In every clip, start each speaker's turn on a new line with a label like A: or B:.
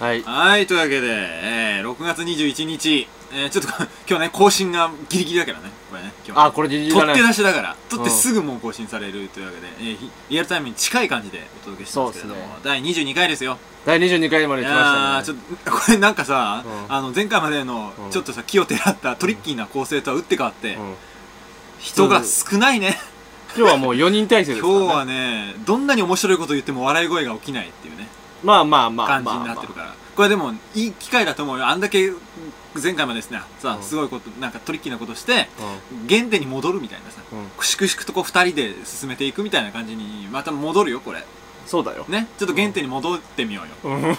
A: はい
B: はい、というわけで、えー、6月21日、えー、ちょっと 今日ね、更新がギリギリだからね、これね、今日ね
A: あこれギリギリ
B: 取
A: だ
B: って
A: ね
B: 出しだから、取ってすぐもう更新されるというわけで、えーひリアルタイムに近い感じでお届けしてますけれど
A: そ
B: も、
A: うですね
B: 第22回ですよ。
A: 第22回まで
B: い
A: 来
B: や
A: ま
B: ー
A: し
B: ち
A: た
B: ょっ
A: ね
B: とこれなんかさ、
A: うん
B: あの前回までの
A: うん
B: ちょっとさ気をてらったトリッキーな構成とは打って変わって、
A: うん
B: 人が少ないね
A: 今日はもう4人体制です
B: 今
A: からね
B: 日はねどんなに面白いこと言っても笑い声が起きないっていうね
A: まあまあまあ
B: 感じ
A: まあ
B: に
A: ま
B: な
A: あ
B: ってるから、これでもいい機会だと思うよあんだけ前回までですねさ、
A: うん
B: すごいことなんかトリッキーなことして
A: うん
B: 原点に戻るみたいなさ
A: うん
B: 粛々とこう2人で進めていくみたいな感じにまた戻るよこれ
A: そうだよ
B: ねちょっと原点に戻ってみようよ、
A: うん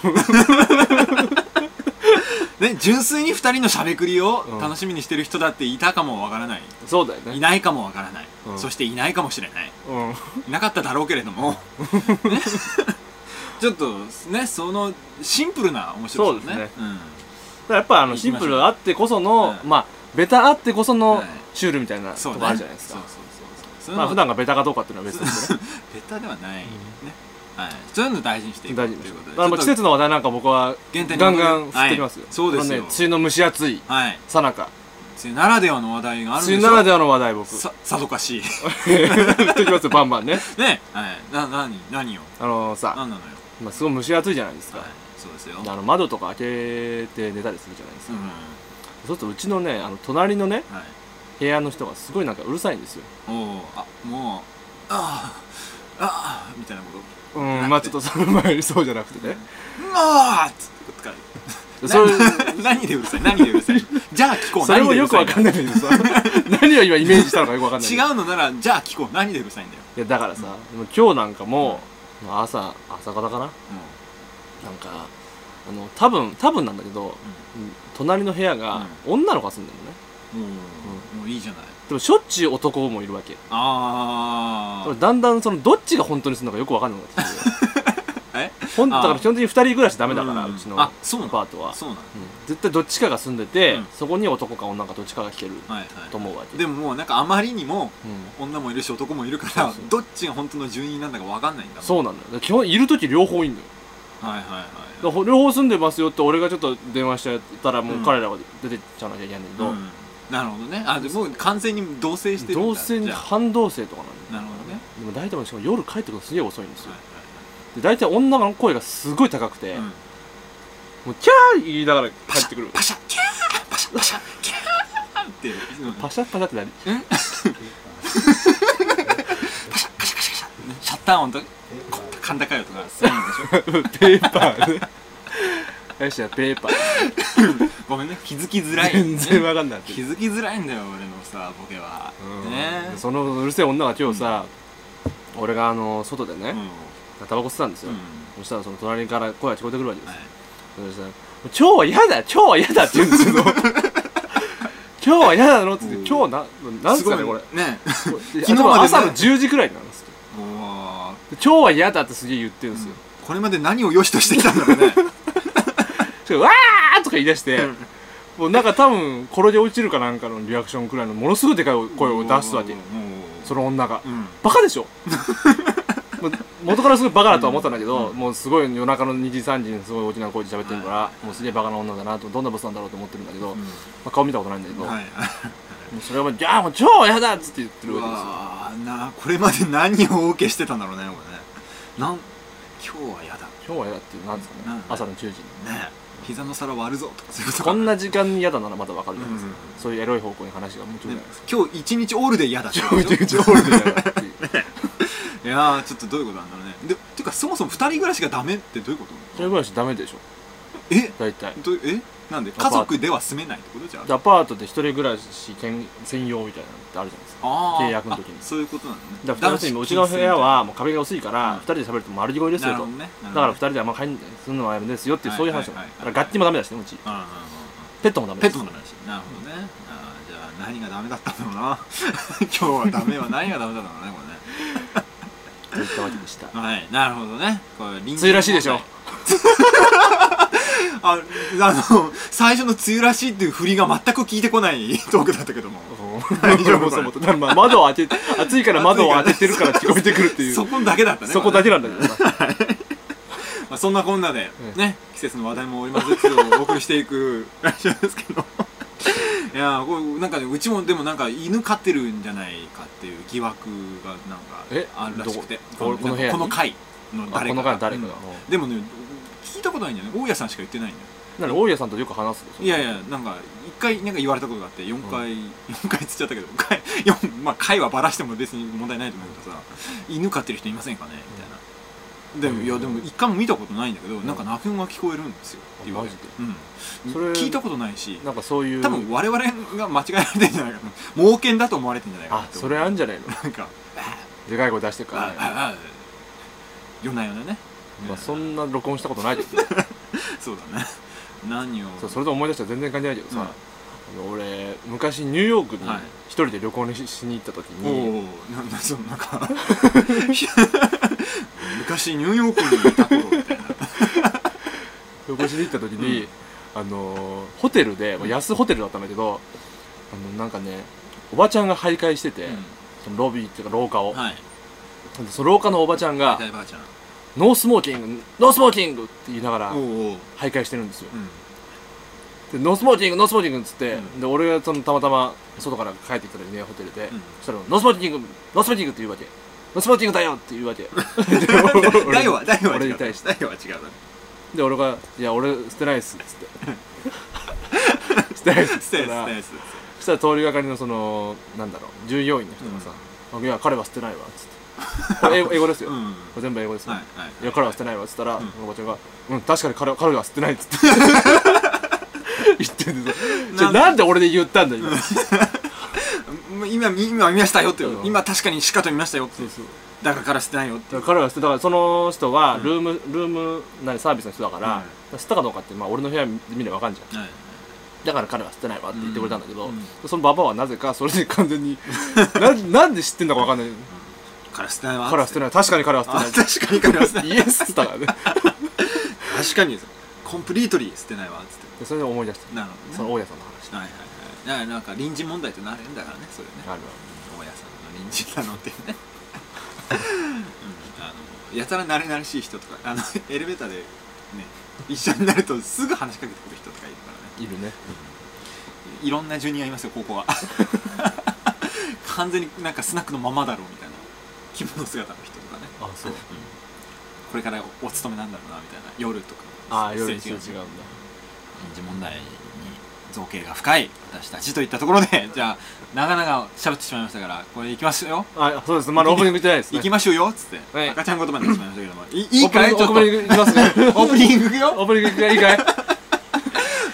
B: ね純粋に2人のしゃべくりを
A: うん
B: 楽しみにしてる人だっていたかもわからない
A: そうだよ
B: い
A: ね
B: ないかもわからない、
A: うん
B: そしていないかもしれない
A: うん
B: いなかっただろうけれども、ね、 ちょっとねそのシンプルな面白さね
A: そうですね
B: ん
A: やっぱあのシンプルあってこその
B: 行きましょう
A: まあベタあってこその
B: はい
A: シュールみたいなと
B: そうね
A: こあるじゃないですか
B: そうそうそうそうそういう
A: ま
B: の
A: あ普段がベタかどうかっていうのは別ですね
B: ベタではない、ねはい、そういうの大事にしていく
A: 大事で
B: ということ
A: す
B: で
A: あの季
B: ちょっと
A: 節の話題なんか僕は
B: 原点に
A: ガ
B: 戻
A: ン
B: る
A: ガン振ってきますよ、
B: はいそうですよ
A: あのね梅雨の蒸し暑い
B: はい
A: さなか
B: 梅雨ならではの話題があるん
A: 梅
B: でしょ
A: 雨ならではの話題僕 振
B: ささぞかしい
A: ってきますよバンバンね
B: ねはいな何何よ
A: あのさ、
B: 何なのよ
A: まあ、すごい蒸し暑いじゃないですか、
B: はいそうですよ
A: であの窓とか開けて寝たりするじゃないです
B: う
A: か、そう
B: ん
A: するとうちのねあの隣のね
B: はい
A: 部屋の人がすごいなんかうるさいんですよ
B: おおあもうああああみたいなこと
A: うんまあちょっとその前にそうじゃなくてね
B: ああっつってことか
A: それ
B: な 何でうるさい何でうるさ いじゃあ聞こう
A: それもよくわかん
B: ない
A: ないんだけどさ 何を今イメージしたのかよくわかんない
B: 違うのならじゃあ聞こう何でうるさいんだよ
A: いやだからさ、でも今日なんかもう朝朝方かななんかあの多分多分なんだけど、うん隣の部屋が女の子が住んでるのね、
B: もうもういいじゃない
A: でもしょっちゅう男もいるわけ
B: あ
A: だ
B: あ
A: んだんそのどっちが本当にするのかよくわかんなくなってきて
B: え
A: ほんだから基本的に2人暮らしダメだから、
B: う
A: うんちのア
B: あそうなの
A: パートは、
B: そうなの
A: うん絶対どっちかが住んでて、
B: うん
A: そこに男か女かどっちかが来てる
B: はいはい
A: と思うわけ、
B: でももうなんかあまりにも
A: うん
B: 女もいるし男もいるから
A: そうそう
B: どっちが本当の順位なんだかわかんないんだもん
A: そうなんだよだから基本いる時両方いんのよ
B: はいはい
A: だか
B: はい
A: ら両方住んでますよって俺がちょっと電話しちゃったらもううん彼らが出てっちゃわなきゃいけないんだけど、
B: うんなるほどねあでもう完全に同棲してるんだ
A: 同棲に
B: じゃあ
A: 半同棲とかなんだよ
B: なるほどね
A: でも大体もしかも夜帰ってくるのすげえ遅いんですよ、
B: はい
A: で大体女の声がすごい高くて、
B: はいはいうん
A: もうキャー言いながら帰ってく る
B: パシャキャーパシャパシャキャーっていうのね
A: パシャパシャって何
B: パシャパシャパシャパシャシャッター音とかこ甲高い音がするんでしょ
A: ペーパー ねよしじゃあペーパー
B: ごめんね気づきづらい
A: 全然わかんない
B: 気づきづらいんだよ俺のさボケは
A: うん
B: ね
A: そのうるせえ女が今日さ、俺があの外でね、タバコ吸ってたんです
B: うん
A: よ、
B: うん
A: そしたらその隣から声が聞こえてくるわけです、
B: はい
A: そしたら「今日は嫌だ今日は嫌だ」って言うんで すけど今日は嫌なのって言って、
B: うん
A: 今日な、なんすかね、これ。
B: ね
A: 昨
B: 日までね
A: 朝の10時くらいなんですよ。
B: も
A: で今日は嫌だってすげえ言ってるんですよ。
B: うこれまで何を良しとしてきたんだろうね
A: それわーとか言い出して、もうなんか多分、転げ落ちるかなんかのリアクションくらいのものすごいでかい 声を出すわけ
B: も。う
A: その女が。
B: うん
A: バカでしょもう元からすごいバカだとは思ったんだけど、もうすごい夜中の2時3時にすごい大きな声で喋ってるから、もうすげえバカな女だなとどんなボスなんだろうと思ってるんだけど、まあ、顔見たことないんだけど、
B: はい
A: もうそれはもう「いやもう超嫌だ!」っつって言ってる
B: う
A: わけですよ
B: わーなこれまで何をお受けしてたんだろうね俺ねなん今日は嫌だ
A: 「今日は嫌だ」ってなんですか
B: なん
A: ね
B: だ
A: 朝の10時に
B: ね膝の皿割るぞとかそういうことか
A: こんな時間に嫌だならまだわかるじゃないですか、
B: う
A: そういうエロい方向に話がもうちょい
B: ね
A: ないですか
B: 今日一日オールで嫌だってこと
A: め
B: でし
A: ち
B: ょ
A: ゃくちゃホールで嫌だっていう
B: いやーちょっとどういうことなんだろうねでてかそもそも2人暮らしがダメってどういうこ
A: そ
B: と
A: れぐらいしダメでしょ
B: え
A: 大体
B: どうえなんで家族では住めないってことじゃ
A: でアパートで一人暮らし兼専用みたいなのってあるじゃないですか
B: あー
A: 契約の時に
B: あそういうことなのね
A: だから二人でもうちの部屋はもう壁が薄いか
B: うん
A: ら二人で喋ると丸聞こえです
B: な
A: よ
B: るほ
A: と
B: どね
A: だから二
B: 人
A: 人であんま帰んするのはやめですよっていうそういう話
B: は
A: ないの
B: はい
A: だ
B: はい
A: から楽器もダメだしねうちペットもダメ
B: ペ
A: です
B: ットの話なるほどねあーじゃあ何がダメだったんだろうな 今日はダメは何がダメだったんだろうねこ
A: といったわけでした
B: れねはいなるほどねこれ隣人
A: 梅雨らしいでしょ
B: ああの最初の梅雨らしいっていう振りが全く聞いてこないトークだったけども 大丈夫これ
A: そうそうだからまあ窓を開け暑いから窓を開けてるから聞こえてくるっていう
B: そこだけだったね
A: そこだけなんだけどさ
B: まあそんなこんなで、
A: うん
B: ね、季節の話題も織り交ぜつつお送りしていくラジオですけど。いやーこれなんかねうちもでもなんか犬飼ってるんじゃないかっていう疑惑がなんか
A: え
B: あるらしくて
A: どここの部屋に
B: この回の
A: あ
B: 誰
A: この
B: かが
A: 間誰かが、
B: うん
A: う
B: でもね聞いたことないんだよね大家さんしか言ってないんだよ
A: んなに大家さんとよく話すでしょ
B: いやいやなんか一回なんか言われたことがあって4回、4回つっちゃったけど回4まあ 回はバラしても別に問題ないと思うけどさ犬飼ってる人いませんかねみたいな、でもいやでも一回も見たことないんだけど、
A: ん
B: なんか鳴き声が聞こえるんですよって言われてうん
A: それ
B: 聞いたことないし
A: なんかそういう
B: 多分我々が間違えられてんじゃないかと猛犬だと思われてんじゃないかな
A: あ
B: って思
A: そうれあんじゃないの
B: なんか
A: でかい声出してる
B: 「
A: から
B: あ
A: ね
B: あああ夜な夜なね、
A: まあ、そ
B: うん
A: んな録音したことないけど
B: そうだね何を
A: そうそれで思い出したら全然関係ないけど
B: うん
A: さ、あの俺昔ニューヨークに
B: はい
A: 一人で旅行にししに行った時
B: お
A: に、
B: おななそのなんか 昔ニューヨークにいた頃みたいな
A: 旅行しに行った時に、
B: うん
A: あのーホテルで、まあ、安ホテルだったんだけどあのなんかねおばちゃんが徘徊してて、そのロビーっていうか廊下を、
B: はい
A: でその廊下のおばちゃんが
B: 大ばあちゃん
A: 「ノースモーキングノースモーキング!」って言いながら
B: おおう
A: 徘徊してるんですよ
B: うん
A: でノースモーキングノースモーキングっつって、
B: うん
A: で俺がそのたまたま外から帰ってきた時ねホテルで、
B: うん
A: そしたら「ノースモーキングノースモーキング」って言うわけ「ノースモーキングだよ!」って言うわけで 俺
B: 大は大は
A: 俺
B: 違
A: に
B: う大
A: 対して
B: は違うだね
A: で俺が「いや俺捨てないっす」っつって 捨てないっすっ
B: ス
A: つ
B: テ
A: っ
B: イス
A: たら
B: テイス
A: そしたら通りがかりのそのなんだろう従業員の人がさ「いや彼は捨てないわ」っつって これ英語英語ですよ、
B: うん
A: こ
B: はい
A: れ全部英語ですよ、
B: はい
A: いや彼は捨てないわっつったら、
B: ん
A: そのおばちゃんが「うん確かに彼は彼は捨てない」っつって言ってんでさじゃあなんで俺で言ったんだ今
B: うん今見今見ましたよって
A: そう
B: 今確かにしかと見ましたよって
A: そうそう
B: だから捨てないよって
A: だから彼は捨てたからその人はルーム、ルーム何サービスの人だから、
B: うん
A: だから捨てたかどうかって、まあ、俺の部屋見ればわかんじゃん
B: はい
A: だから彼は捨てないわって言ってくれたんだけど、
B: うん
A: そのババアはなぜかそれで完全にななんで知ってんだかわかんない
B: から捨てないわ
A: 彼は捨てない確かに彼は捨て
B: あ
A: ない
B: 確かに彼は捨てな い
A: イエスって言ったからね
B: 確かにコンプリートリー捨てないわっつって
A: でそれで思い出した
B: なるほどね
A: その大家さんの話
B: はいはいはいだからなんか臨時問題となるんだからねそれね
A: ある
B: 大家さんの隣人なのっていうね、うん、あのやたら慣れ慣れしい人とかあのエレベーターでね一緒になるとすぐ話しかけてくる人とかいるか
A: い
B: らね
A: るね
B: いろんなジュニアいますよここは完全になんかスナックのままだろうみたいな着物姿の人とかね
A: あそう
B: これからお勤めなんだろうなみたいな夜とか
A: ああいろいろ
B: す
A: 違う
B: れ
A: ん
B: 違う
A: だ
B: 臨時問題に造形が深い私たちといったところでじゃあ長々喋ってしまいましたからこれいきますよ
A: あそうですまだオープニングじゃないですね
B: 行きましょうよっつって、
A: はい
B: 赤ちゃん言葉になってしまいましたけど もいいいかい
A: オ
B: ちょ
A: ー
B: っと
A: プニングオープニングいきますね
B: オープニング行くよ
A: オープニングいいかい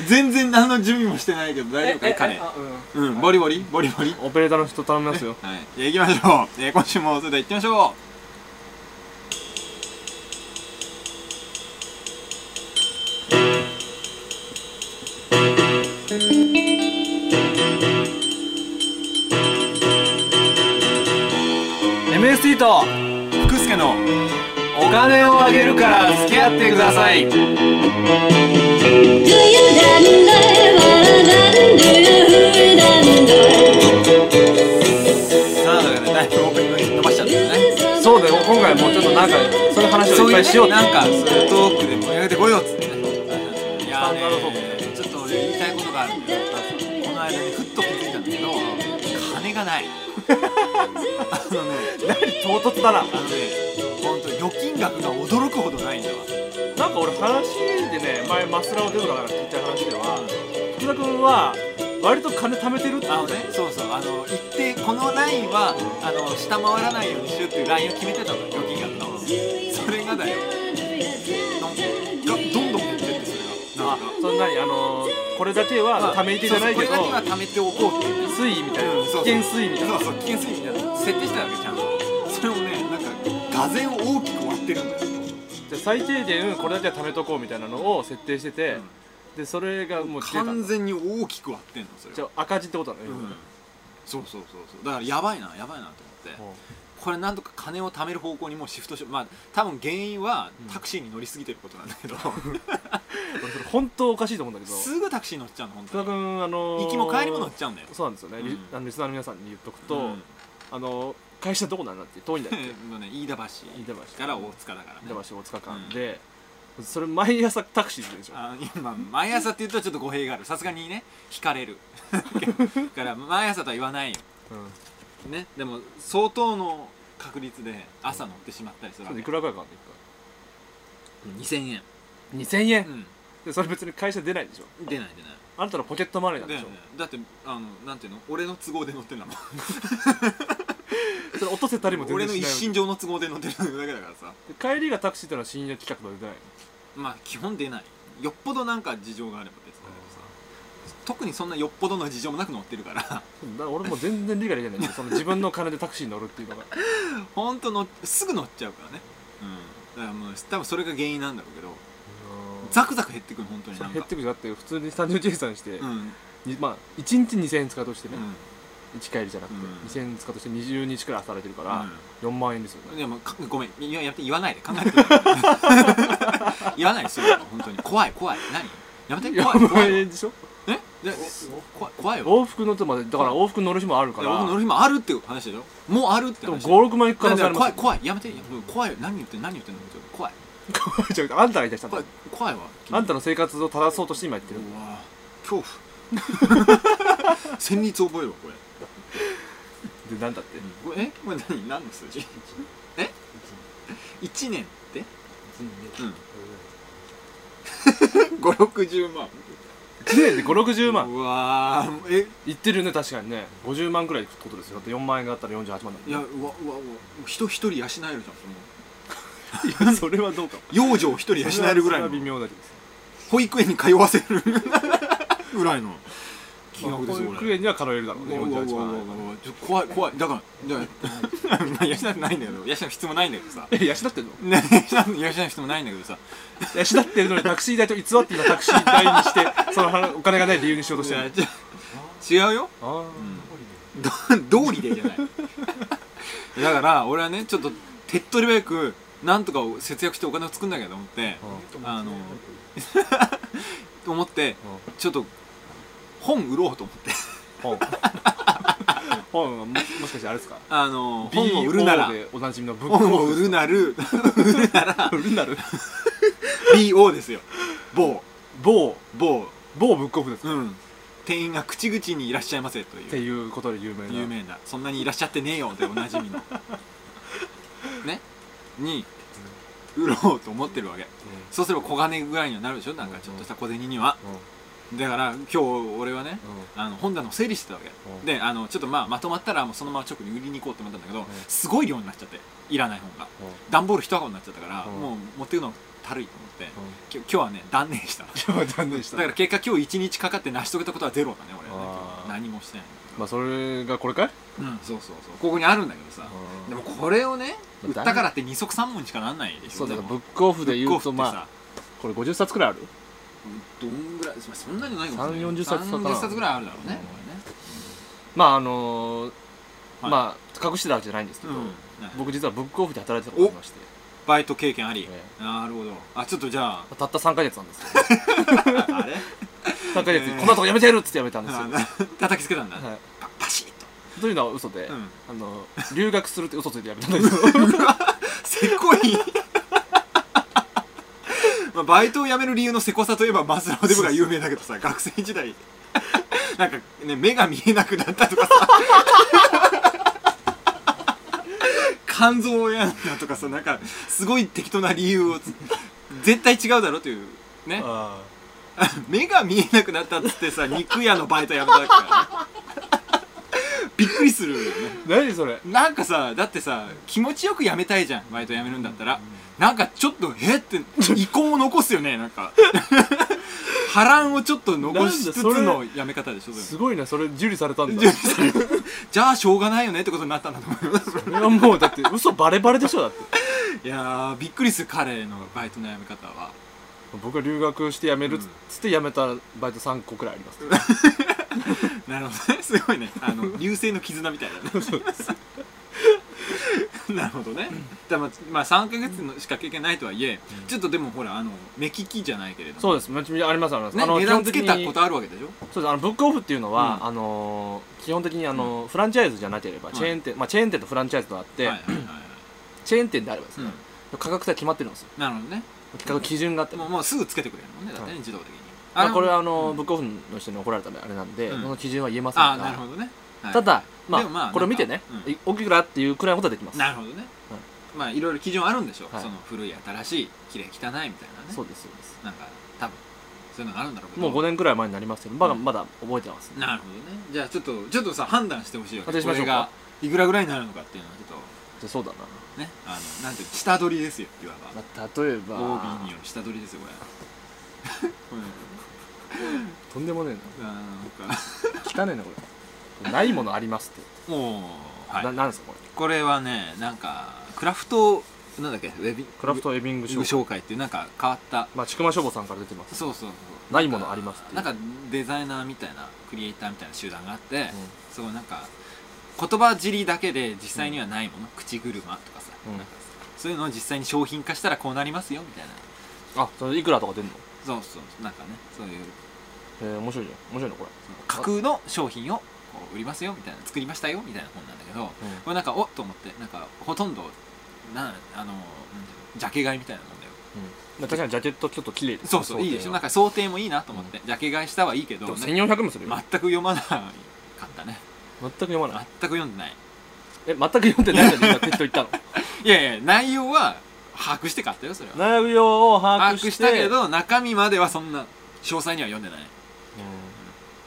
B: 全然何の準備もしてないけど大丈夫かい
A: ええ
B: 彼
A: えあうん
B: うんボリボリボリボリ
A: オペレーターの人頼みますよ
B: はいじゃあ行きましょう、えー今週もそれでは行ってみましょう
A: m s t と
B: 福助の
A: お金をあげるから付き合ってください
C: Do you dandle, wanna dandle, dandle?
B: さあだからだいぶオープニングに伸ばしちゃったよね
A: そうだよ今回もうちょっとなんかそういう話をいっぱいしよう
B: そういうねなんかそういうトークで盛り上げてこようっつってねいや
A: スタ
B: ーね
A: ンダードトー
B: ちょっと俺言いたいことがあるんだよこの間ねふっと気づいたんだけど金がない あのね
A: 唐突だな
B: あのね、本当預金額が驚くほどないんだわ。
A: なんか俺話でね前マスラを出るから聞いた話では福田君は割と金貯めてるって
B: あのね、そうそう、あの一定このラインはあの下回らないようにしようっていうラインを決めてたの預金額の。それがだよ。なんかどんどん減ってってそれが。
A: あ
B: なんか。
A: そんなにあのー、これだけは貯め池じゃないけど
B: そうそうこれだけは貯めておこうっていうね。
A: 水位みたいな
B: うん
A: 危険水位みたいな
B: そうそう危険水位みたいな設定してたわけちゃんとそれをねなんか俄然大きく割ってるんだよ
A: じゃあ最低限これだけは貯めとこうみたいなのを設定してて、でそれがもう出た
B: 完全に大きく割ってんのそれ
A: じ
B: は
A: ゃあ赤字ってことだね、
B: うんそうそうそうそうだからやばいなやばいなと思ってこれなんとか金を貯める方向にもうシフトしまあ多分原因はタクシーに乗りすぎてることなんだ けど、
A: 俺それ本当おかしいと思うんだけど
B: すぐタクシー乗っちゃうの本
A: 福田
B: 当に
A: 君あのー、
B: 行きも帰りも乗っちゃうんだよ
A: そうなんですよね、リ
B: うん
A: あのリスナーの皆さんに言っとくと、
B: うん
A: あの会 社どこなんだって遠いんだっけ
B: のね飯田橋
A: 飯田橋
B: から大塚だからね
A: 板橋大塚間で、それ毎朝タクシーするでしょ
B: あいやまあ毎朝って言うとちょっと語弊があるさすがにね惹かれる だから毎朝とは言わないよ
A: うん
B: ねでも相当の確率で朝乗ってしまったりする
A: そ
B: わ
A: れ
B: け
A: いくらぐらいかかんの
B: 2000円
A: 一回2000円、
B: う
A: でそれ別に会社出ないでしょ
B: ん出ない出ない
A: あなたのポケットマネーなん
B: だ
A: でし
B: よ
A: ょ
B: ね、だってあのなんていうの俺の都合で乗ってるんだもん
A: それ落とせたりも全
B: 俺
A: 然
B: の
A: し
B: 一
A: ない
B: 身上の都合で乗ってるだけだからさ
A: 帰りがタクシーってのは深夜企画とか出ない
B: まあ基本出ないよっぽどなんか事情があれば別だけどさ特にそんなよっぽどの事情もなく乗ってるから
A: だから俺もう全然理解できないんだよその自分の金でタクシーに乗るっていうのが
B: ほんと乗っすぐ乗っちゃうからねうんだからもう多分それが原因なんだろうけどザクザク減ってくる本当に
A: そ
B: な
A: れ
B: ん
A: 減っ
B: か
A: てくるじゃんだって普通に単純計算して、
B: うんうん
A: にまあ1日2000円使うとしてね、1帰りじゃなくて、
B: うん
A: 2000円使うとして20日くらい働いてるから、4万円ですよ
B: うん
A: ね
B: でもかごめんいややって言わないで考えてくれ言わないですよ本当に怖い怖い何やめて怖い
A: 4
B: 怖
A: 万
B: い
A: 円でしょ
B: えで怖い怖いよ
A: 往復乗ってまでだから往復乗る日もあるか
B: だからら僕乗る日もあるっていう話でしょもうあるっ
A: で
B: て
A: も
B: 話
A: 56万円行く可能性あ
B: だから
A: りま
B: 怖
A: す
B: い怖いやめて怖いよ何言ってんの何言ってんのちょっと怖い
A: 怖いじゃなくてあんたが言い出したんだ
B: 怖い
A: よ
B: 怖いわ
A: あんたの生活を正そうとして今言ってる
B: うわ恐怖戦慄覚えるわこれ
A: でなんだって
B: これえこれ何何の数字え一年ってうん五六十万
A: 1年で560万
B: うわーえ
A: いってるよね確かにね50万くらいいくってことですよだって4万円があったら48万だもんね
B: いやうわうわうわ人一人養えるじゃんその
A: いやそれはどうかも
B: 養女を一人養えるぐらい
A: それは
B: の
A: 微妙だけど
B: 保育園に通わせ るぐらいの金
A: まあ
B: 額ですよ
A: 保育園には通えるだろうね
B: うわうわうわ
A: 48
B: うわうわ
A: 万
B: うわちょっと怖い怖いだからだからまあ養ってないんだけど養う必要もないんだけどさ
A: え養ってんの
B: ね養う必要もないんだけどさ
A: 養ってるのにタクシー代と偽って今タクシー代に してその話お金がない理由にしようとしてる
B: 違うよ
A: あー
B: ど道理でじゃないだから俺はねちょっと手っ取り早くなんとかを節約してお金を作んなきゃと思ってあのと思ってちょっと本売ろうと思って
A: 本本はももしかしてあれですか
B: あの本を売るなら
A: BO でおなじみのブック
B: 本を
A: オ
B: 売
A: フ
B: るなる売るなら
A: 売るなる
B: BO ですよ某
A: 某
B: 某
A: 某ブックオフですっ
B: うん店員が口々にいらっしゃいませという
A: ていうことで有名な
B: 有名なそんなにいらっしゃってねえよでおな じみのねに売ろうと思ってるわけそうすれば小金ぐらいにはなるでしょなんかちょっとした小銭には
A: うんうん
B: だから今日俺はねあの本棚を整理してたわけ
A: うん
B: であのちょっとまあまとまったらもうそのまま直に売りに行こうと思ったんだけどすごい量になっちゃっていらない本が
A: うん
B: 段ボール一箱になっちゃったから
A: うん
B: もう持っていくのたるいと思って
A: うん
B: きょ今日はね断念しただ
A: 今日は残念でした
B: から結果今日一日かかって成し遂げたことはゼロだね俺はね
A: あー
B: 今日何もしてない
A: まあそれがこれかい
B: うんそうそうそうここにあるんだけどさでもこれをね売っ
A: だ
B: た
A: ね
B: からって二足三本にしかなんないでしょ
A: そうだ
B: で
A: からブ
B: も
A: ックオフで言うと
B: ブックオフって
A: ま
B: さ
A: あこれ50冊くらいある
B: どんぐらいまあそんなにないかもしれない
A: 3 40冊かな
B: 3 40冊ぐらいあるだろうね、
A: まああのー
B: はい
A: まあ隠してたわけじゃないんですけ
B: う
A: ど
B: ん僕
A: 僕実はブックオフで働いてたことがありまして
B: バイト経験あり、
A: え
B: なるほどあちょっとじゃあ
A: たった3ヶ月なんです けど
B: あ れ
A: 3ヶ月
B: え
A: に
B: ー
A: こんなとこやめてやるっつってやめたんですよ、
B: 叩きつけたんだ、
A: は
B: パパシッと
A: い、というのは嘘で、
B: うん
A: あの留学するって嘘ついてやめたんだけ ど
B: せこい まあ、バイトを辞める理由のせこさといえばマスローデブが有名だけどさ学生時代なんかね目が見えなくなったとかさ 肝臓を病んだとかさなんかすごい適当な理由をつ絶対違うだろというね
A: あ
B: 目が見えなくなったっつってさ肉屋のバイト辞めたからねびっくりするよね
A: ー何それ
B: なんかさだってさ気持ちよく辞めたいじゃんバイト辞めるんだったら、なんかちょっとえって 遺恨を残すよねなんか 波乱をちょっと残しつつの辞め方でしょそれ
A: すごいなそれ受理されたんだ
B: じゃあしょうがないよねってことになったんだと思います
A: それはもうだって嘘バレバレでしょだって
B: いやーびっくりする彼のバイトの辞め方は
A: 僕は留学して辞めるっつって辞めたバイト3個くらいあります、
B: なるほどねす ごいねあ の流星の絆みたいなね なるほどね、だからまあ、まあ3ヶ月のしか経験ないとはいえ、ちょっとでもほらあの目利きじゃないけれども
A: そうですめっちゃありますあります、
B: ね
A: あの
B: 値段つけ
A: 基
B: た
A: 本的に
B: ことあるわけでしょ
A: そうですあのブックオフっていうのは、
B: うん
A: あのー基本的にあの、フランチャイズじゃなければ
B: い
A: チェーン店、まあ、チェーン店とフランチャイズとあって、
B: はいはいはいはい
A: チェーン店であればです
B: う
A: ね
B: ん、
A: 価格帯決まってるんですよ
B: なるほどね
A: 企画基準があって、
B: もうもうすぐつけてくれるもんねだってね、
A: はい
B: 自動的に
A: まあ、これ
B: は
A: はあの、
B: うん
A: ブックオフの人に怒られたらあれなんで、
B: うん
A: この基準は言えませんが
B: あなるほどね、はい
A: ただ、まあ
B: でもまあ
A: これを見てね、
B: なんか
A: い大きくなっていうくらいのことはできます
B: なるほどね、まあいろいろ基準あるんでしょう、
A: はい
B: その古い新しい綺麗汚いみたいなね
A: そうですそうです
B: なんか多分そういうのがあるんだろうけ
A: も
B: ど
A: う5年くらい前になりますけどまだ
B: うん
A: まだ覚えてます、
B: なるほどねじゃあちょっとちょっとさ判断してほしいよね
A: 判定しましょう
B: これが
A: か
B: いくらぐらいになるのかっていうのはちょっ
A: じゃあそうだな、
B: とねあのなんていうの下取りですよいわば
A: まあ、例えば
B: OB による下取りですよこ れこれ
A: とんでもね
B: あーなんか
A: えな汚ねえなこれないものありますって、
B: もう、はい
A: ななんですかこれ
B: これはねなんかクラフトなんだっけウェビ
A: クラフトエビング
B: ウェ
A: シ
B: ビ
A: ョー
B: 紹介っていうなんか変わった
A: まあちくま消防さんから出てます
B: そうそうそう
A: ないものありますっていう
B: なんかデザイナーみたいなクリエイターみたいな集団があって、
A: うん
B: そうなんか言葉尻だけで実際にはないもの、口車とかさ、
A: うん
B: なんかそういうのを実際に商品化したらこうなりますよみたいな
A: あそれいくらとか出んの
B: そうそうなんかねそういう
A: えー、面白いじゃん面白いのこれ、
B: その架空の商品をこう売りますよみたいな作りましたよみたいな本なんだけどこれなんかおっと思ってなんかほとんどなあのなんていうのジャケ買いみたいなもんだよ
A: まあ確かにジャケットちょっと綺麗です
B: そうそういいでしょなん
A: か
B: か想定もいいなと思って、ジャケ買いしたはいいけど
A: でも
B: なんか
A: 1400もするよ、
B: 全く読まなかったね
A: 全く読ま
B: 全
A: ない
B: く読んでない
A: え全く読んでないのに今適当言 ったの
B: いやいや内容は把握して買ったよそれは
A: 内容を把
B: 把
A: 握
B: 握
A: して
B: したけど中身まではそんな詳細には読んでない
A: うん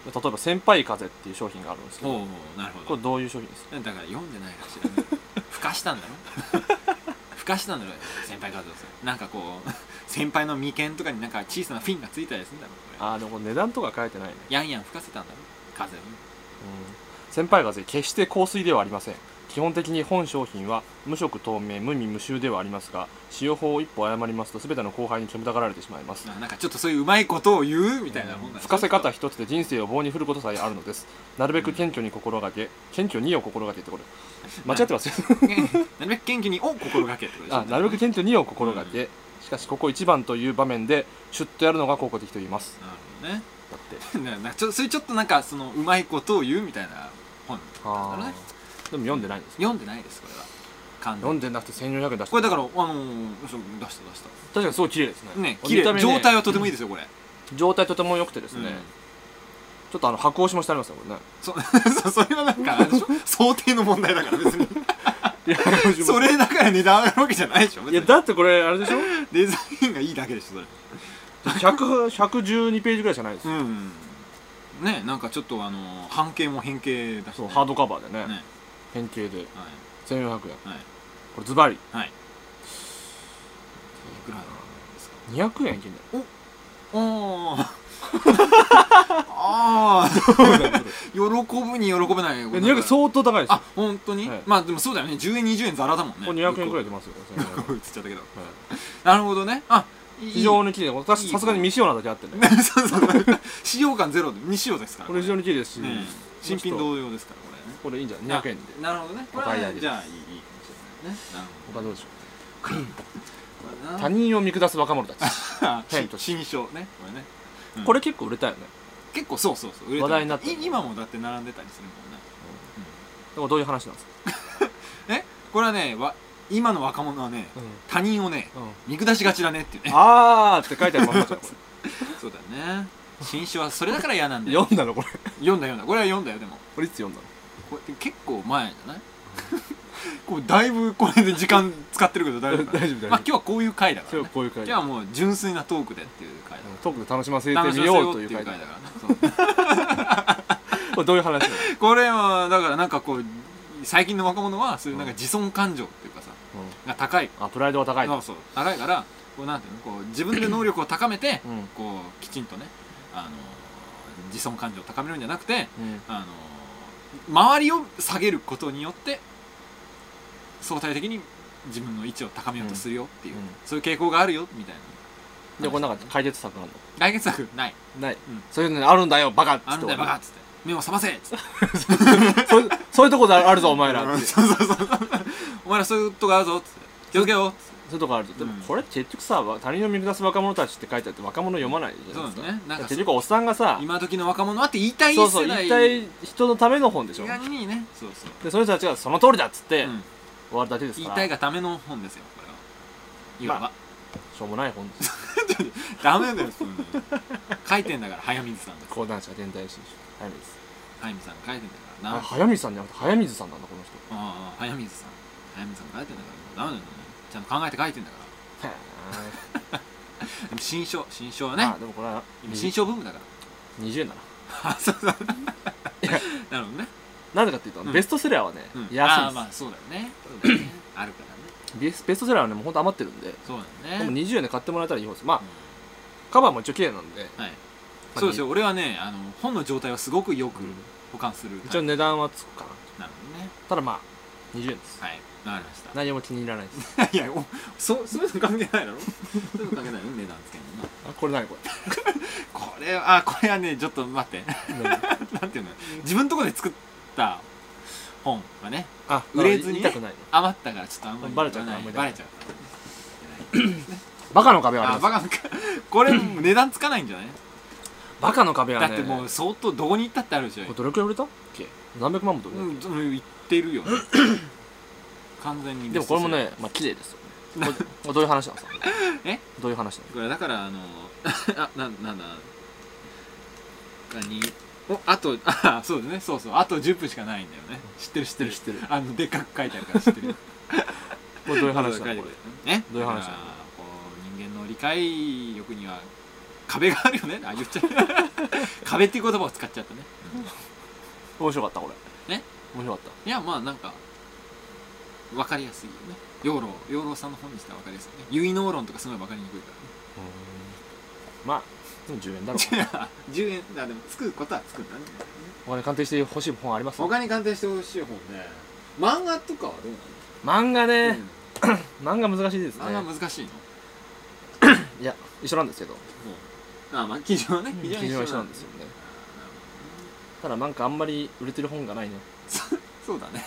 A: 例えば「先輩風」っていう商品があるんですけ
B: お
A: ど
B: うおうなる
A: こ
B: ほ
A: れ
B: ど
A: どういう商品ですか
B: だから読んでない かしらねふかしたんだろ ふかしたんだろ先輩活動さんなんかこう 先輩の眉間とかになんか小さなフィンがついたりするんだろこれ
A: あーでもこれ値段とか書いてないね、
B: やんやん吹かせたんだろ風
A: う
B: を
A: ん、先輩風決して香水ではありません基本的に本商品は無色透明無味無臭ではありますが使用法を一歩誤りますと全ての後輩に煙たがられてしまいます
B: ななんかちょっとそういううまいことを言うみたいなもんだ
A: 吹かせ方一つで人生を棒に振ることさえあるのですなるべく謙虚に心がけ謙虚にを心がけってこれ間違ってますよ
B: なるべく謙虚にを心がけってことでしょ
A: あなるべく謙虚にを心がけしかしここ一番という場面でシュッとやるのが効果的と言います
B: なるほどね
A: だって
B: ななちょそういうちょっとなんかそのうまいことを言うみたいな本なんだろうね
A: でも読んでないんですよ
B: 読んでないですこれは完全
A: 読ん
B: に
A: でなくて1400円出して
B: これだかららあのーそう出した出し
A: 確かにすごい綺麗です
B: た
A: ね
B: ね
A: 見
B: 綺麗、
A: た目ね
B: 状態はとてもいいですよこれ、
A: 状態とても良くてですね、
B: うん
A: ちょっとあの白押しもしてありますよこれね
B: そ そそれはなんかあれ でしょ想定の問題だから別にそれだから値段上がるわけじゃないでしょ別
A: い
B: に
A: やだってこれあれ でしょ
B: デザインがいいだけでしょそれ
A: 100 112ページぐらいしかないです
B: う
A: よ、
B: んねなんかちょっとあのー半径も変形だし、
A: そうハードカバーでね
B: ね
A: 変形で
B: は
A: 1400円、
B: いはい
A: これズバリ
B: はいいくらなんですか
A: 200円いけんじ
B: おーああ
A: ゃない
B: 喜ぶに喜べないよ
A: いや200円相当高いですよ
B: あ本当に、
A: はい
B: まあでもそうだよね10円20円ザラだもんね
A: これ200円くらい出
B: で
A: ますよこれ
B: 映
A: 1400円
B: っちゃった
A: は
B: けど
A: い
B: なるほどねあいい
A: 非常に綺麗で私
B: いい
A: さすがに未使用なだけあってね
B: そうそう使用感ゼロで未使用ですから
A: これ非常に綺麗ですし、
B: ね新品
A: どう
B: 同様ですからこれね
A: これいいんじゃない200円で
B: あなるほどね
A: お買い上げ
B: これはじゃあいいいいかもしれないねなる
A: 他どうでしょう
B: ほど
A: 他人を見下す若者たち
B: 人 新商ねこれね
A: これ結構売れたよね
B: 結構そうそうそう売れ
A: 話題になってる
B: い今もだって並んでたりするもんね
A: でもどういう話なんですか、
B: これはねわ今の若者はね他人をね
A: うん
B: 見下しがちだねっていうね
A: あーって書いてあるまんまじゃんこ
B: そうだよね新種はそれだから嫌なんだ
A: れ
B: よ
A: 読んだのこれ
B: 読んだ読んだこれは読んだよでも
A: これいつ読んだの
B: これ結構前じゃない こうだいぶこれで時間使ってるけど大丈夫かな
A: 大丈夫大丈夫
B: まあ今日はこういう回だから、
A: 今
B: ね
A: 日、こういう回
B: 今日はもう純粋なトークでっていう回だか
A: トークで楽しませて
B: ら
A: みようという回
B: 楽しませようっていう回
A: だ
B: だからねそう
A: これどういう話なの、
B: これはだからなんかこう最近の若者はそういうなんか自尊感情っていうかさが高い、
A: あプライドが高い
B: そ
A: と
B: うそう高いからこうなんていうのこう自分で能力を高めて
A: うんうん
B: こうきちんとねあの自尊感情を高めるんじゃなくてあの周りを下げることによって相対的に自分の位置を高めようとするよっていう、
A: うんうん
B: そういう傾向があるよみたいな
A: でこれなんか解決策がある
B: 来月策ない
A: のない、
B: うん
A: そういうのにあるんだよバカっつって
B: あんだよバカっつって目を覚ませっつって
A: そういうそういうとこであるぞお前らって
B: そうそうそうお前らそういうとこあるぞっつって気をつけよっつって
A: そういうとこあると、でもこれ結局さ他人を見下す若者たちって書いてあって若者読まないじゃ
B: そう
A: な
B: ないん
A: です
B: だ
A: か
B: ねなんか
A: 結局おっさんがさ
B: 今時の若者はって言いたい世
A: そう
B: 代
A: そう一体人のための本でしょ
B: 意外にねそうそう、
A: でその人たちがその通りだっつって
B: うん
A: 終わるだけです
B: 言
A: か
B: い
A: ら、
B: たいがための本ですよこれはいわば、
A: ましょうもない本 です
B: ダメだよそんなの書いてんだから早水さんです
A: 講談社天体師匠早水
B: 早水さんが書いてんだから
A: あ
B: な
A: 早水さんじゃなくて早水さんなんだこの人
B: ああ早水さん早水さんが書いてんだからダメなんだよねちゃんと考えて書いてんだか
A: へ
B: ら でも新書新書は
A: え
B: ね
A: あでもこれは
B: 今新書ブームだか
A: 20円だな
B: らあそうそうなるほどね
A: なぜかっていうと、
B: うんベ
A: ベ
B: ス
A: ストセラーはね、
B: うん
A: 安い
B: ああまあそうだよねそうだよねあるからね
A: ベストセラーはねもうほんと余ってるんで
B: そうだ
A: で
B: よ
A: も
B: ね
A: 20円で買ってもらえたらいい方ですまあ、
B: うん
A: カバーも一応綺麗なんで、
B: はいそうですよ俺はねあの本の状態はすごくよく
A: うん
B: 保管する
A: 一応値段はつくかな
B: なるほどね
A: ただまあ20円です、
B: はいわかりました
A: 内容も気に入らないです
B: いや、おそそういうの関係ないだろそういうの関係ないよ、値段つけんのな。
A: あこれ何こ
B: これは、あ、これはね、ちょっと待って。
A: れ何
B: なんていうの自分のところで作った本がね、
A: あ
B: 売れずに
A: 言
B: ね
A: いたくないの
B: 余ったからちょっとあんまり
A: バレちゃうから
B: 言
A: あ
B: わない
A: んま
B: バ
A: り
B: レちゃうから。
A: バカの壁はあ
B: あ、
A: りま
B: バカのこれ値段つかないんじゃない
A: すバカの壁は
B: だ
A: ね
B: ってもう相当どこに行ったってあるでしょ
A: これ。どれくらい売れたっけ何百万もと
B: うん、うん言ってる よね。完全に。
A: でもこれも。ねまあ綺麗ですよ ねこれこれどういう話なんですか
B: え
A: どういう話な
B: これだからあの あななんだ何おあと あそうだねそうそうあと10分しかないんだよね知ってる知ってる
A: 知ってる
B: あのでっかく書いてあるから知ってる
A: のこれどういう
B: 書い
A: 話
B: て
A: な
B: あ
A: の
B: る
A: これ
B: ね
A: どういう話なの
B: だからこう人間の理解力には壁があるよねあ言っちゃう 壁っていう言葉を使っちゃったね
A: 面白かったこれ
B: え
A: 面白かった
B: いやまあなんか分かりやすいよね養老養老さんの本にしたら分かりやすいね結納論とかすごい分かりにくいからね
A: まあでも10円だろう
B: 10円あでもつくことはつくんだね
A: お金鑑定してほしい本あります
B: 他に鑑定してほしい本ね漫画とかはどう
A: 漫画
B: なの
A: ね、漫画難しいですね
B: 漫画難しいの
A: いや一緒なんですけど
B: ああまあ基準はね
A: 基準は一緒なんですよねただなんかあんまり売れてる本がないね
B: そうだね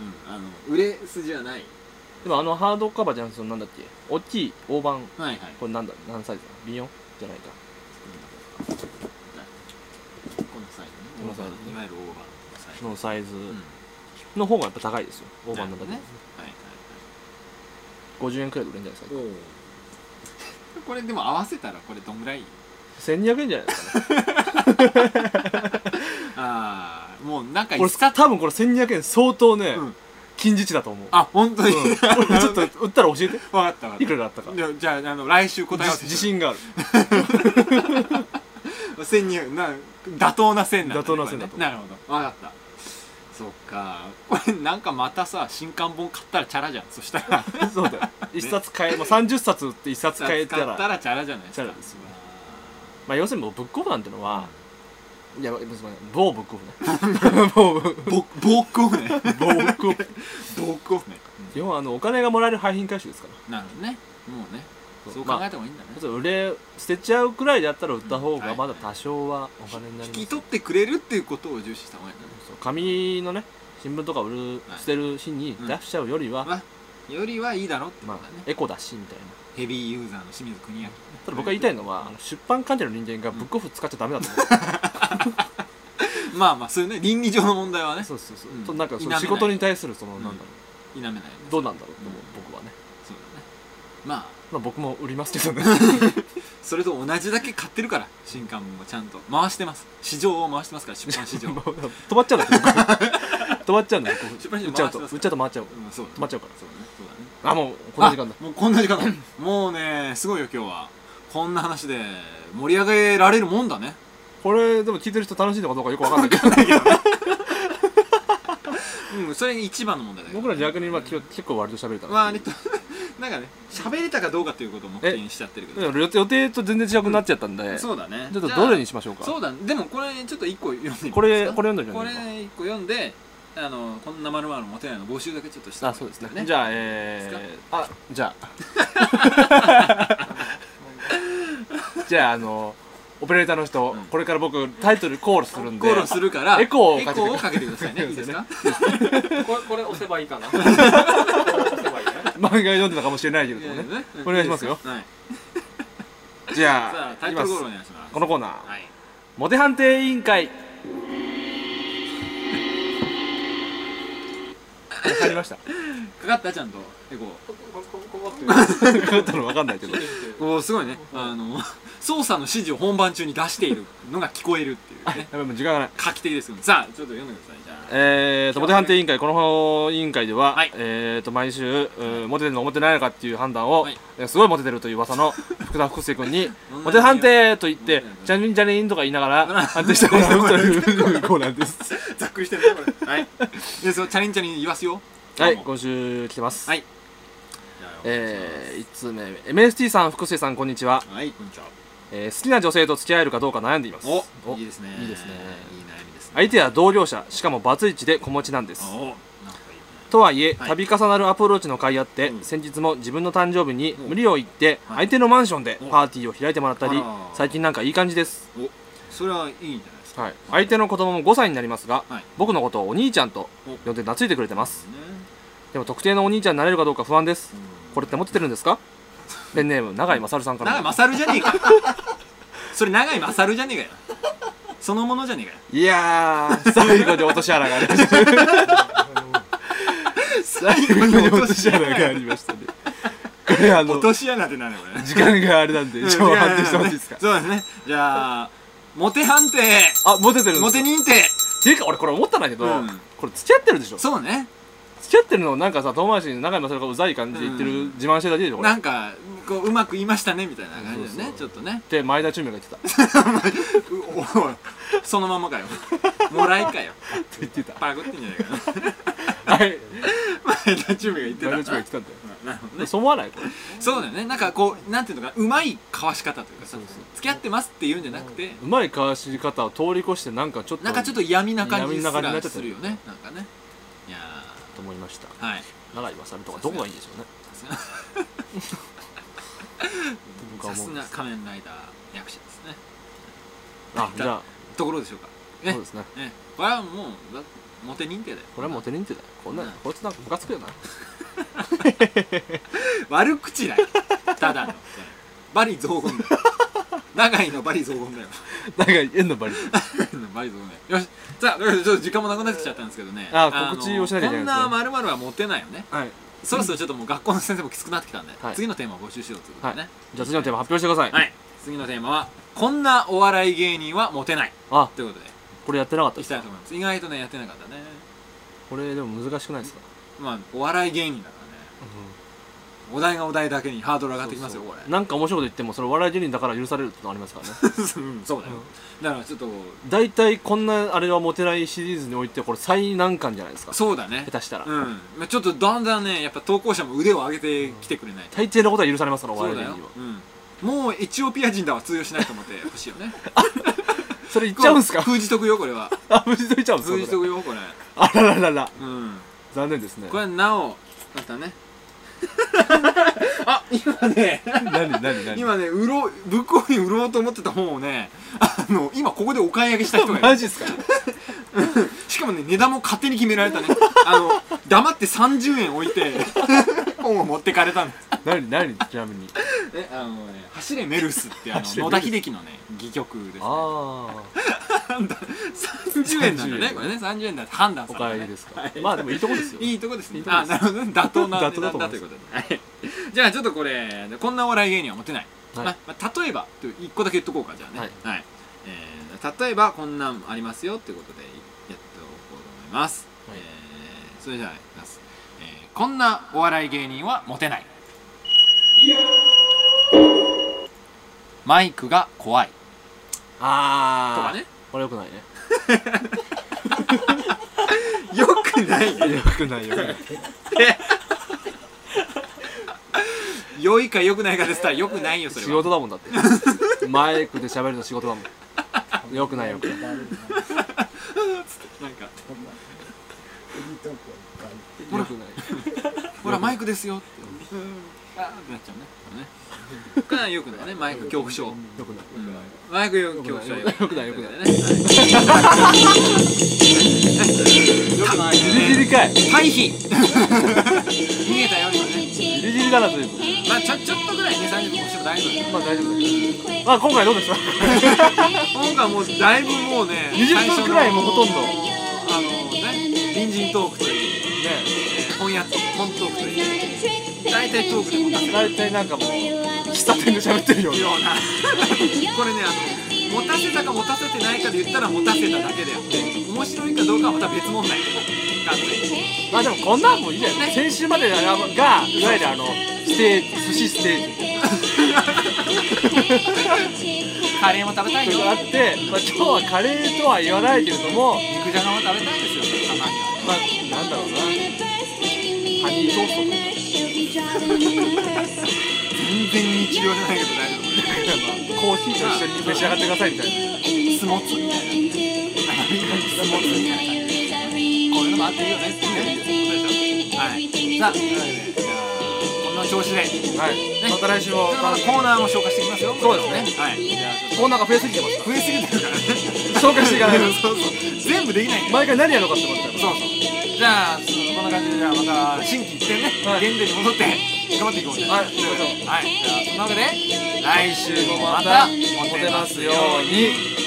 B: うんあの売れ筋はない
A: でもあのハードカバーじゃなくてそのなんだっけ大きい大判
B: はいはい
A: これなんだ何サイズだ B4 じゃないか
B: このサイズ
A: このサイズ
B: いわゆる大判のサイズ
A: のサイズ
B: うん
A: の方がやっぱ高いですよ大判なんだけど、
B: なるはいはい
A: 50円くらいで売れるんじゃないですか
B: はいおこれでも合わせたらこれどんぐらい
A: 1200円じゃないですかね
B: ああもうなんか
A: これ
B: 使っ
A: 多分これ1200円相当ね、
B: うん
A: 近似値だと思う
B: あ本当
A: うん
B: に
A: これちょっと売ったら教えて
B: 分かった分かった
A: いくらだったか
B: じゃあじゃああの来週答え合わせ
A: 自自信が ある
B: 千二な妥当な線なんだ、ね、
A: 妥当な線だと
B: これねなるほど分かったそっかこれなんかまたさ新刊本買ったらチャラじゃんそしたら
A: そうだよ一冊買え、まあ、30冊売って一冊買えた
B: 買
A: ら
B: ったらチャラじゃないですか
A: チャラですよまあ要するにもうブックオフなんてのは、いや、すみません、某ブックオフね。 某ブック
B: ボボックオフね
A: 某ブックオフ。
B: ボックオフね、
A: 基本はあのお金がもらえる廃品回収ですから。
B: なるほどねもうね
A: そう
B: そう考えた方がいいんだね、
A: まあ売れ捨てちゃうくらいだったら売った方
B: う
A: が
B: ん
A: まだ多少はお金になりま
B: 引
A: す。
B: き取ってくれるっていうことを重視した方がいいんだね
A: そう紙のね新聞とか売る
B: はい
A: 捨てる日に出しちゃうよりは、
B: まあよりはいいだろってこ
A: ま
B: と
A: あ
B: だね、
A: エコだしみたいな。
B: ヘビーユーザーの清水邦明
A: ただ僕が言いたいのは、あの出版関係の人間がブックオフ使っちゃダメだと思う。
B: まあまあそういうね倫理上の問題はね
A: そうそうそう。
B: うん
A: となんかそ
B: 否めな
A: の
B: い
A: 仕事に対するその
B: うん
A: なんだろ
B: 否めないね
A: うどうなんだろうと思う僕はね。
B: そうだねまあ
A: まあ僕も売りますけどね。
B: それと同じだけ買ってるから新刊もちゃんと回してます市場を回してますから出 版市場
A: もう止まっちゃうんだよ僕止まっちゃうんだよ僕
B: 出版社
A: 売っ
B: に
A: ちゃうと
B: 回してますから
A: 売っちゃうと回っちゃう
B: うんそう
A: 止まっちゃうから
B: そうだねそうだね
A: あもうこの時間だ
B: あもうこんな時間だもうねすごいよ今日はこんな話で盛り上げられるもんだね
A: これでも聞いてる人楽しいのかどうかよくわかんないけど
B: うんそれが一番の問題だけど
A: 僕ら逆にまあきょ結構割と喋れた
B: まあ
A: な
B: あれと なんかね喋れたかどうかということを目的にしちゃってるけど
A: 予定予定と全然違くなっちゃったんで、ちょ
B: そうだね
A: っとどれに
B: し
A: しましょうか
B: そうだねでもこれちょっと一個読んでみますか
A: これこれ読んだじゃ
B: こ
A: な
B: れ
A: いです
B: 一個読んであのこんなまるまるモテないの募集だけちょっとした
A: かあそうですねじゃあえー、あじゃあ じゃああのオペレーターの人、
B: うん
A: これから僕タイトルコールするんで
B: コールするから
A: エコーを
B: エ
A: かけて
B: コーをかけてくださいねいいですか
D: これこれ押せばいいかなこれ押せばいいね
A: 漫画読んでたかもしれないけれどもね
B: うん
A: お願いしますよ
B: はい
A: じ
B: さあ
A: ゃあ
B: タイ
A: いき
B: ト
A: ま
B: ル
A: す
B: コールお願いします
A: このコーナー、
B: はい
A: モテ判 定委員会入りま した
B: かかったちゃんとエコ
D: ここここここ
A: かかったの分かんないけど
B: おーすごいねあの 操作の指示を本番中に出しているのが聞こえるっていうね
A: やばいもう時間がない
B: 画期的ですけどさあちょっと読んでくださいじゃあ
A: えー、とモテ判定委員会この委員会では、
B: はい
A: えー、と毎週、えーモテてるのかモテてないのかっていう判断を、
B: はい
A: えーすごいモテてるという噂 の福田福介君に
B: うん
A: モテ判定と言って
B: うん
A: ジャニーンジャニーンとか言いながら判定してもらうというコーナー です
B: ざっくりしてるねこれはいでそのチャレンジャーに言わすよ
A: はい
B: どうも
A: 今週来てます、
B: はい
A: えー、1通目 MST さん福介さんこんにちは、
B: ー、はいこんにちは
A: えー好きな女性と付き合えるかどうか悩んでいます
B: おいいですね
A: いいですね
B: いい悩みですね
A: 相手は同僚者しかもバツイチで子持ちなんです
B: おなんかいいね
A: とはいえ、
B: はい
A: 度重なるアプローチの甲斐あって、
B: うん
A: 先日も自分の誕生日に
B: うん
A: 無理を言って、
B: はい
A: 相手のマンションで
B: うん
A: パーティーを開いてもらったり、
B: あら
A: 最近なんかいい感じです、
B: おそれはいいんじゃないですか
A: はい、相手の子供も5歳になりますが、
B: はい
A: 僕のことをお兄ちゃんと
B: お
A: 呼んで懐いてくれてます
B: ね
A: でも特定のお兄ちゃんになれるかどうか不安です
B: うん
A: これってモテてるん ですかペンネーム永井勝さんから
B: 永井勝じゃねえか それ永井勝じゃねえかよそのものじゃねえかよ
A: いやー最後で落とし穴がありました最後に落とし穴がありましたねこれあの
B: 落とし穴ってなんだよこれ
A: 時間があれなんで 一応判定してほしいですか
B: そうですねじゃあモテ判定
A: あモテてるんで
B: モ
A: すか
B: テ認定
A: ていうか俺これ思ったんだけど、
B: うん
A: これ付き合ってるでしょ付
B: そうね
A: き合ってるのなんかさ遠回しに永井雅宏がうざい感じで言ってる、
B: うん
A: 自慢してるだけでしょこれっ
B: なんかこううまく言いましたねみたいな感じでねち
A: そ
B: ょっとね
A: て前田中明が言ってたって
B: うおおい そのままかよもらいかよ
A: 言ってた
B: パクってんじゃないかな
A: はい
B: 前田中明が言って
A: 前田中
B: た
A: 明言ってたんだよ
B: なるほどね
A: そう思わないこれ
B: そうだよねなんかこうなんていうのかなうまい交わし方というかさ付き合ってますっていうんじゃなくて
A: うまい交わし方を通り越してなんかちょっと
B: なんかちょっと闇な感じす
A: 闇な感じになっちゃって
B: らす
A: る
B: るよねなんかねいや
A: と思いました
B: ーはい
A: 永井雅宏とかどこがいいんでしょうね
B: さすが
A: 僕は思
B: さ
A: う
B: す
A: んで
B: が
A: す
B: 仮面ライダー役者ですね
A: あじゃあ
B: ところでしょうかね
A: そうですね
B: ねこれはもうだモテ認定だよ
A: これはモテ認定だよこんな
B: うん
A: こいつなんかムカつくよな
B: 悪口だよただのバリ雑言だよ長井のバリ雑言だよ
A: 永井縁のバリ
B: バリ雑言だ よよしさあということでちょっと時間もなくなってきちゃったんですけどね
A: あ
B: の
A: 告知をしなきゃいけないですね
B: こんな〇〇はモテないよね
A: はい
B: そろそろちょっともう学校の先生もきつくなってきたんで、
A: はい
B: 次のテーマを募集しようということでね
A: じゃあ次のテーマ発表してください、
B: はい、次のテーマはこんなお笑い芸人はモテない
A: あ
B: ということで
A: これやってなかったで
B: いき
A: す
B: たいと思います意外とねやってなかったね
A: これでも難しくないですか、
B: まあお笑い芸人だからねお題がお題だけにハードル上がってきますよこれ
A: なんか面白いこと言ってもそれ笑い芸人だから許されるってのありますからね
B: うんそうだよだからちょっと
A: 大体こんなあれはモテないシリーズにおいてこれ最難関じゃないですか下
B: そうだね
A: 手したら、
B: うんまあちょっとだんだんねやっぱ投稿者も腕を上げてきてくれない
A: 大抵のことは許されますからお
B: そ
A: 笑
B: う
A: い芸
B: だ
A: 人
B: よ
A: は
B: うんもうエチオピア人だは通用しないと 思ってほしいよね
A: それ言っちゃうんすか
B: 封じとくよこれは
A: あ無事と言っちゃうん
B: 封
A: す
B: じ
A: か
B: と
A: これ
B: くよこれ
A: あらららら
B: うん
A: 残念ですね
B: これはなおま たねあ今ね
A: 何何何
B: 今ね売ろうブックオフに売ろうと思ってた本をねあの今ここでお買い上げした人がいる
A: マジっすか
B: しかもね値段も勝手に決められたねあの黙って30円置いて 本を持ってか れたんです
A: 何何ちなみに
B: えあのね「走れメルス」ってあの
A: 走れ
B: 野
A: メル
B: 田
A: ス
B: 秀樹のね戯曲です、ね、
A: ああ
B: 30円なんだねこれね30円だって判断
A: お
B: さ
A: かえ
B: れた、
A: り
B: ね
A: ですか、まあでもいいとこですよ
B: いいとこですね
A: いいとこ
B: あ
A: です
B: なるほどね妥当な
A: 妥
B: 値
A: 当だ
B: 段
A: と
B: だ
A: 思
B: とい
A: いうます
B: ことで、はいじゃあちょっとこれこんなお笑い芸人は持てない、
A: はい
B: まま例えば1個だけ言っとこうかじゃあね
A: はい、
B: えー例えばこんなんありますよってことでやっておこうと思います、
A: はい
B: えーそれじゃあいきます、えーこんなお笑い芸人はモテないマイクが怖い
A: ああ
B: とかね
A: これよく ないね
B: よくないね
A: よくないよくない
B: 良いか良くないかですったら良くないよそれは
A: 仕事だもんだってマイクで喋るの仕事だもんよくないよくない
B: なんか
A: よくない
B: ほらマイクですよってあーってなっちゃうね これねよくないねマイク恐怖症
A: よくない
B: うんマイク恐怖症
A: よくないよくない
B: ねよくない
A: ギリギ
B: ね
A: リかい
B: 回避逃げたよりもね
A: ギリギリだなという
B: まあちょちょっとぐらいね35分しても大丈夫
A: まあ大丈夫だけどまあ今回どうでした
B: 今回もうだいぶもうね
A: ?20 分くらいもうほとんど
B: あのね隣人トークという
A: ね
B: やって本トークといいよ
C: 大体トークでも
A: 大体なんかもう
C: 喫
A: 喫茶店で喋ってるよう
B: うなこれねあの持たせたか持たせてないかで言ったら持たせただけであって面白いかどうかはまた別問題完全に
A: まあでもこんなんもいいじゃない先週まであのがいわゆるあのステージ寿司ステージ
B: カレーも食べたいよ
A: があって、まあ、今日はカレーとは言わないけれども
B: 肉じゃがも食べたいですよたまには
A: まあなんだろうな
C: ハ
A: ニートースト
C: ト
B: 全然日常じゃないけど大丈夫
A: コーヒーと一緒に召し上がってくださいみたいな
B: スモッツみたいなスモッツみたいなこういうのもあっていいよねっていうはいさあというわけでじゃあこんな調子で
A: はいまた来週も
B: コ
A: 楽しみ
B: ーナーも紹介していきますよ
A: そうですね
B: はいじゃあちょっ
A: コーナーが増えすぎてます
B: と増えすぎてるからね
A: 紹介していかないと
B: そうそう全部できないんだよ
A: 毎回何やろうかって思ってた
B: そうそうじゃあそこんな感じでじゃあまた新規一点ね、
A: はい
B: 現代に戻って頑張っていこうぜ
A: はい
B: はい
A: 行きましょう
B: じゃあそんなわけで来週もまた
A: モテますように